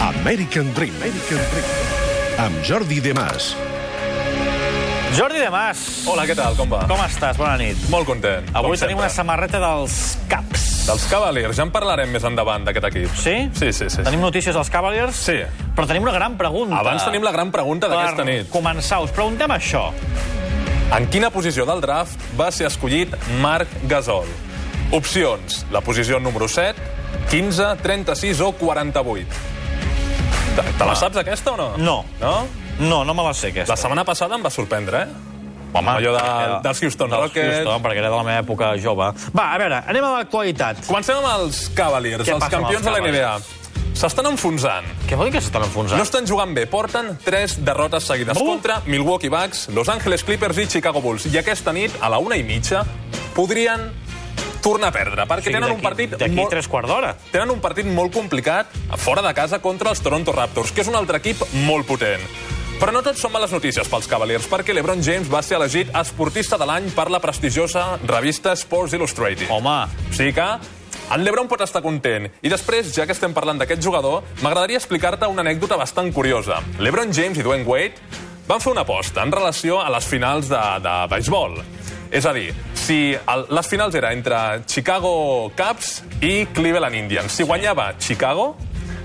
American Dream. American Dream. Amb Jordi Demàs. Jordi de Mas, Hola, què tal? Com va? com estàs? Bona nit. Molt content. Avui com tenim una sempre. samarreta dels Caps. Dels Cavaliers, ja en parlarem més endavant d'aquest equip. Sí? Sí, sí, sí. Tenim notícies dels Cavaliers? Sí. Però tenim una gran pregunta. Abans tenim la gran pregunta d'aquesta Per nit. començar, us preguntem això. En quina posició del draft va ser escollit Marc Gasol? Opcions. La posició número 7, 15, 36 o 48. Te, te la saps, aquesta, o no? Ah. No. No? No, no me la sé, aquesta. La setmana passada em va sorprendre, eh? Home, allò de- perquè- dels Houston dels Rockets. Houston, perquè era de la meva època jove. Va, a veure, anem a l'actualitat. Comencem amb els Cavaliers, Què els passa amb els campions de la NBA. Cavaliers? S'estan enfonsant. Què vol dir que s'estan enfonsant? No estan jugant bé. Porten 3 derrotes seguides Uh! contra Milwaukee Bucks, Los Angeles Clippers i Chicago Bulls. I aquesta nit, a la una i mitja, podrien tornar a perdre, perquè O sigui, tenen un d'aquí- partit D'aquí molt... tres quarts d'hora. Tenen un partit molt complicat a fora de casa contra els Toronto Raptors, que és un altre equip molt potent. Però no tot són males notícies pels Cavaliers, perquè l'Ebron James va ser elegit esportista de l'any per la prestigiosa revista Sports Illustrated. Home, O sigui que en l'Ebron pot estar content. I després, ja que estem parlant d'aquest jugador, m'agradaria explicar-te una anècdota bastant curiosa. L'Ebron James i Dwayne Wade van fer una aposta en relació a les finals de, de béisbol. És a dir, si el, les finals era entre Chicago Cubs i Cleveland Indians. Si guanyava Chicago,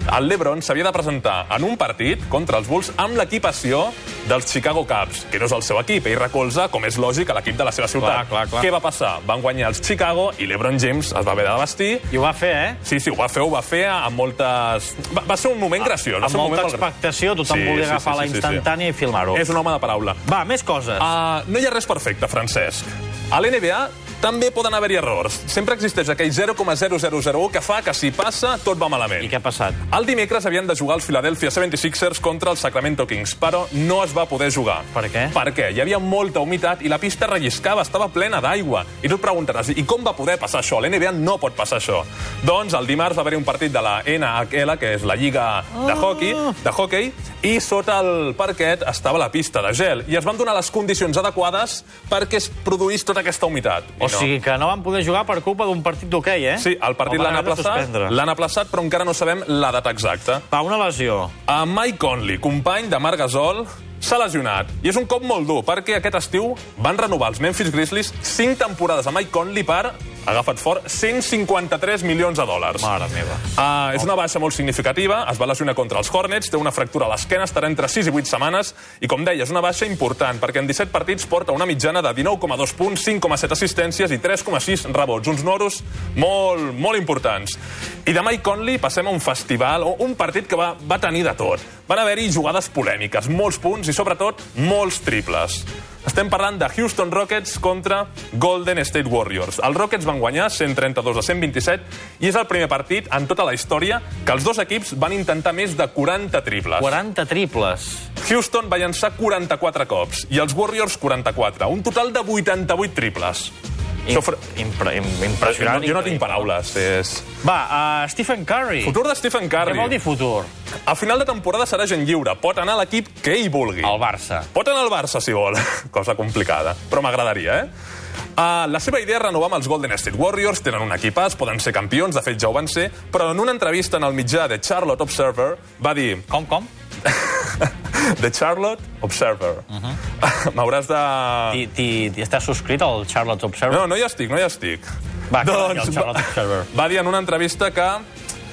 el LeBron s'havia de presentar en un partit contra els Bulls amb l'equipació dels Chicago Cubs, que no és el seu equip. Ell recolza, com és lògic, a l'equip de la seva ciutat. clar, clar. Què va passar? Van guanyar els Chicago i l'Ebron James es va haver de vestir. i ho va fer, eh? Sí, sí, ho va fer, ho va fer amb moltes... Va, va ser un moment graciós. va Ah, Amb ser un molta moment molt gra- expectació, tothom Sí, volia sí, agafar sí, la sí, sí, sí. instantània i filmar-ho. És un home de paraula. Va, més coses. Uh, no hi ha res perfecte, Francesc. A l'NBA també poden haver-hi errors. Sempre existeix aquell 0,0001 que fa que si passa tot va malament. I què ha passat? El dimecres havien de jugar els Philadelphia 76ers contra els Sacramento Kings, però no es va poder jugar. Per què? Perquè hi havia molta humitat i la pista relliscava, estava plena d'aigua. I tu et preguntaràs, i com va poder passar això? A L'NBA no pot passar això. Doncs el dimarts va haver-hi un partit de la NHL, que és la lliga de Ah. hockey, de hockey, i sota el parquet estava la pista de gel. I es van donar les condicions adequades perquè es produís tota aquesta humitat. O I no. sigui que no van poder jugar per culpa d'un partit d'hoquei, eh? Sí, el partit El van l'han haver de aplaçat, suspendre. l'han aplaçat, però encara no sabem la data exacta. Va, una lesió. A Mike Conley, company de Marc Gasol, s'ha lesionat. I és un cop molt dur, perquè aquest estiu van renovar els Memphis Grizzlies 5 temporades a Mike Conley per, agafat fort, 153 milions de dòlars. Mare meva. Uh, és una baixa molt significativa, es va lesionar contra els Hornets, té una fractura a l'esquena, estarà entre 6 i 8 setmanes, i com deia, és una baixa important, perquè en 17 partits porta una mitjana de 19,2 punts, 5,7 assistències i 3,6 rebots, uns noros molt, molt importants. I de Mike Conley passem a un festival, o un partit que va, va tenir de tot. Van haver-hi jugades polèmiques, molts punts i, sobretot, molts triples. Estem parlant de Houston Rockets contra Golden State Warriors. Els Rockets van guanyar 132 a 127 i és el primer partit en tota la història que els dos equips van intentar més de 40 triples. 40 triples. Houston va llançar 44 cops i els Warriors 44, un total de 88 triples. Això fra- Impre im impressionant. Jo no tinc paraules. És... Va, uh, Stephen Curry. Futur de Stephen Què vol dir Curry. futur? A final de temporada serà gent lliure. Pot anar a l'equip que ell vulgui. El Barça. Pot anar al Barça, si vol. Cosa complicada, però m'agradaria, eh? Uh, la seva idea és renovar amb els Golden State Warriors, tenen un equipàs, poden ser campions, de fet ja ho van ser, però en una entrevista en el mitjà de Charlotte Observer va dir Com, com? The Charlotte Observer. Uh-huh. M'hauràs de... Ti, ti, ti estàs subscrit al Charlotte Observer? No, no hi estic, no hi estic. Va, que vagi al Charlotte va, Observer. va dir en una entrevista que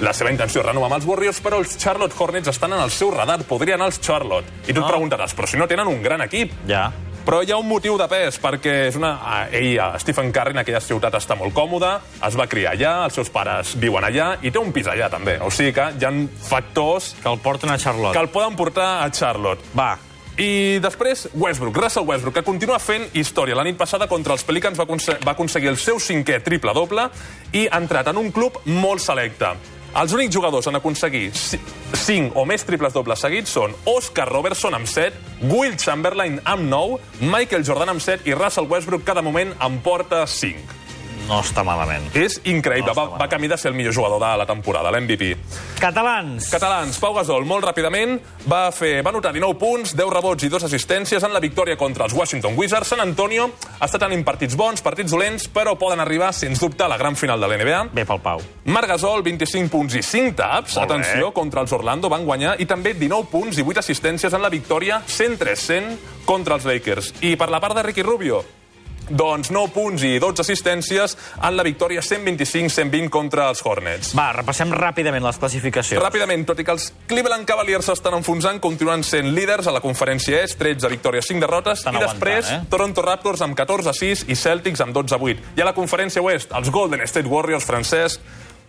la seva intenció és renovar amb els Warriors, però els Charlotte Hornets estan en el seu radar, podrien anar als Charlotte. I Ah. tu et preguntaràs, però si no tenen un gran equip, Ja. Però hi ha un motiu de pes, perquè és una... ah, Ell, ah, Stephen Curry, en aquella ciutat està molt còmode, es va criar allà, els seus pares viuen allà, i té un pis allà, també. O sigui que hi ha factors Que el porten a Charlotte. que el poden portar a Charlotte. Va. I després, Westbrook, Russell Westbrook, que continua fent història. La nit passada contra els Pelicans va, aconse va aconseguir el seu cinquè triple-doble i ha entrat en un club molt selecte. Els únics jugadors en aconseguir 5 o més triples dobles seguits són Oscar Robertson amb 7, Will Chamberlain amb 9, Michael Jordan amb 7 i Russell Westbrook cada moment en porta 5. no està malament. És increïble. Va, va camí de ser el millor jugador de la temporada, l'MVP. Catalans! Catalans, Pau Gasol, molt ràpidament, va, fer, va anotar 19 punts, 10 rebots i 2 assistències en la victòria contra els Washington Wizards. San Antonio està tenint partits bons, partits dolents, però poden arribar, sens dubte, a la gran final de l'NBA. Bé pel Pau. Marc Gasol, 25 punts i 5 taps. Molt bé. Atenció, contra els Orlando van guanyar. I també 19 punts i 8 assistències en la victòria 103-100 contra els Lakers. I per la part de Ricky Rubio, doncs 9 punts i 12 assistències en la victòria 125-120 contra els Hornets. Va, repassem ràpidament les classificacions. Ràpidament, tot i que els Cleveland Cavaliers s'estan enfonsant, continuen sent líders a la conferència est, 13 victòries, 5 derrotes, Estan i després aguantant, eh? Toronto Raptors amb 14-6 i Celtics amb 12-8. I a la conferència oest, els Golden State Warriors francès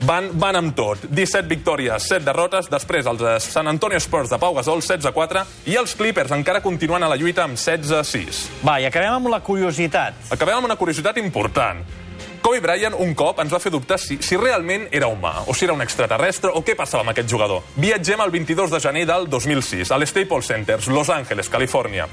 van, van amb tot. 17 victòries, 7 derrotes, després els eh, San Antonio Spurs de Pau Gasol, 16-4, i els Clippers encara continuen a la lluita amb 16-6. Va, i acabem amb la curiositat. Acabem amb una curiositat important. Kobe Bryant un cop ens va fer dubtar si, si realment era humà, o si era un extraterrestre, o què passava amb aquest jugador. Viatgem el 22 de gener del 2006, a l'Staples Centers, Los Angeles, Califòrnia.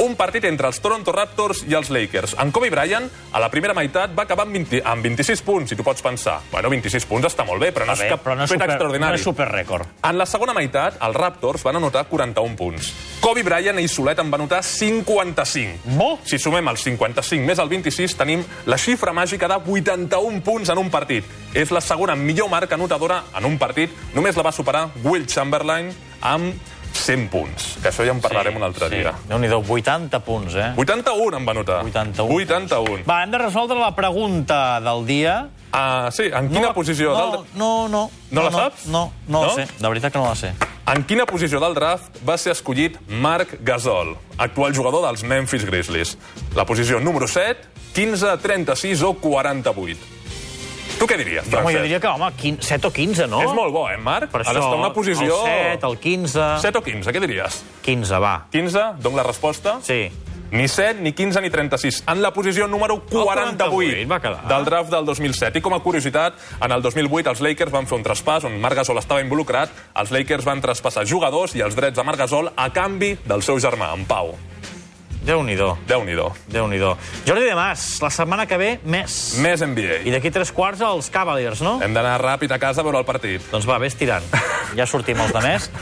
Un partit entre els Toronto Raptors i els Lakers. En Kobe Bryant, a la primera meitat, va acabar amb, 20, amb 26 punts, i tu pots pensar, bueno, 26 punts està molt bé, però no Bé, és cap però no és, fet super, no extraordinari. és superrècord. En la segona meitat, els Raptors van anotar 41 punts. Kobe Bryant i Solet en van anotar 55. Bo. Si sumem el 55 més el 26, tenim la xifra màgica de 81 punts en un partit. És la segona millor marca anotadora en un partit. Només la va superar Will Chamberlain amb 100 punts. Que això ja en parlarem sí, un altre sí. dia. Déu-n'hi-do, 80 punts, eh? 81 en va anotar. 81. 81. Va, hem de resoldre la pregunta del dia. Ah, sí, en quina la- posició? No, del... no, no. No la saps? No, no, no, No? la sé. De veritat que no la sé. En quina posició del draft va ser escollit Marc Gasol, actual jugador dels Memphis Grizzlies? La posició número 7, 15, 36 o 48? Tu què diries, Home, Francesc? jo diria que, home, 15, 7 o 15, no? És molt bo, eh, Marc? Per ha això, d'estar en una posició... el 7, el 15... 7 o 15, què diries? 15, va. 15, dono la resposta. Sí. Ni 7, ni 15, ni 36. En la posició número 48, 48, va quedar. del draft del 2007. I com a curiositat, en el 2008 els Lakers van fer un traspàs on Marc Gasol estava involucrat. Els Lakers van traspassar jugadors i els drets de Marc Gasol a canvi del seu germà, en Pau. Déu-n'hi-do, Déu-n'hi-do. Déu-n'hi-do. Jordi de Mas, la setmana que ve, més. Més NBA. I d'aquí tres Eh. quarts, els Cavaliers, no? Hem d'anar ràpid a casa a veure el partit. Doncs va, vés tirant. Ja sortim els de més.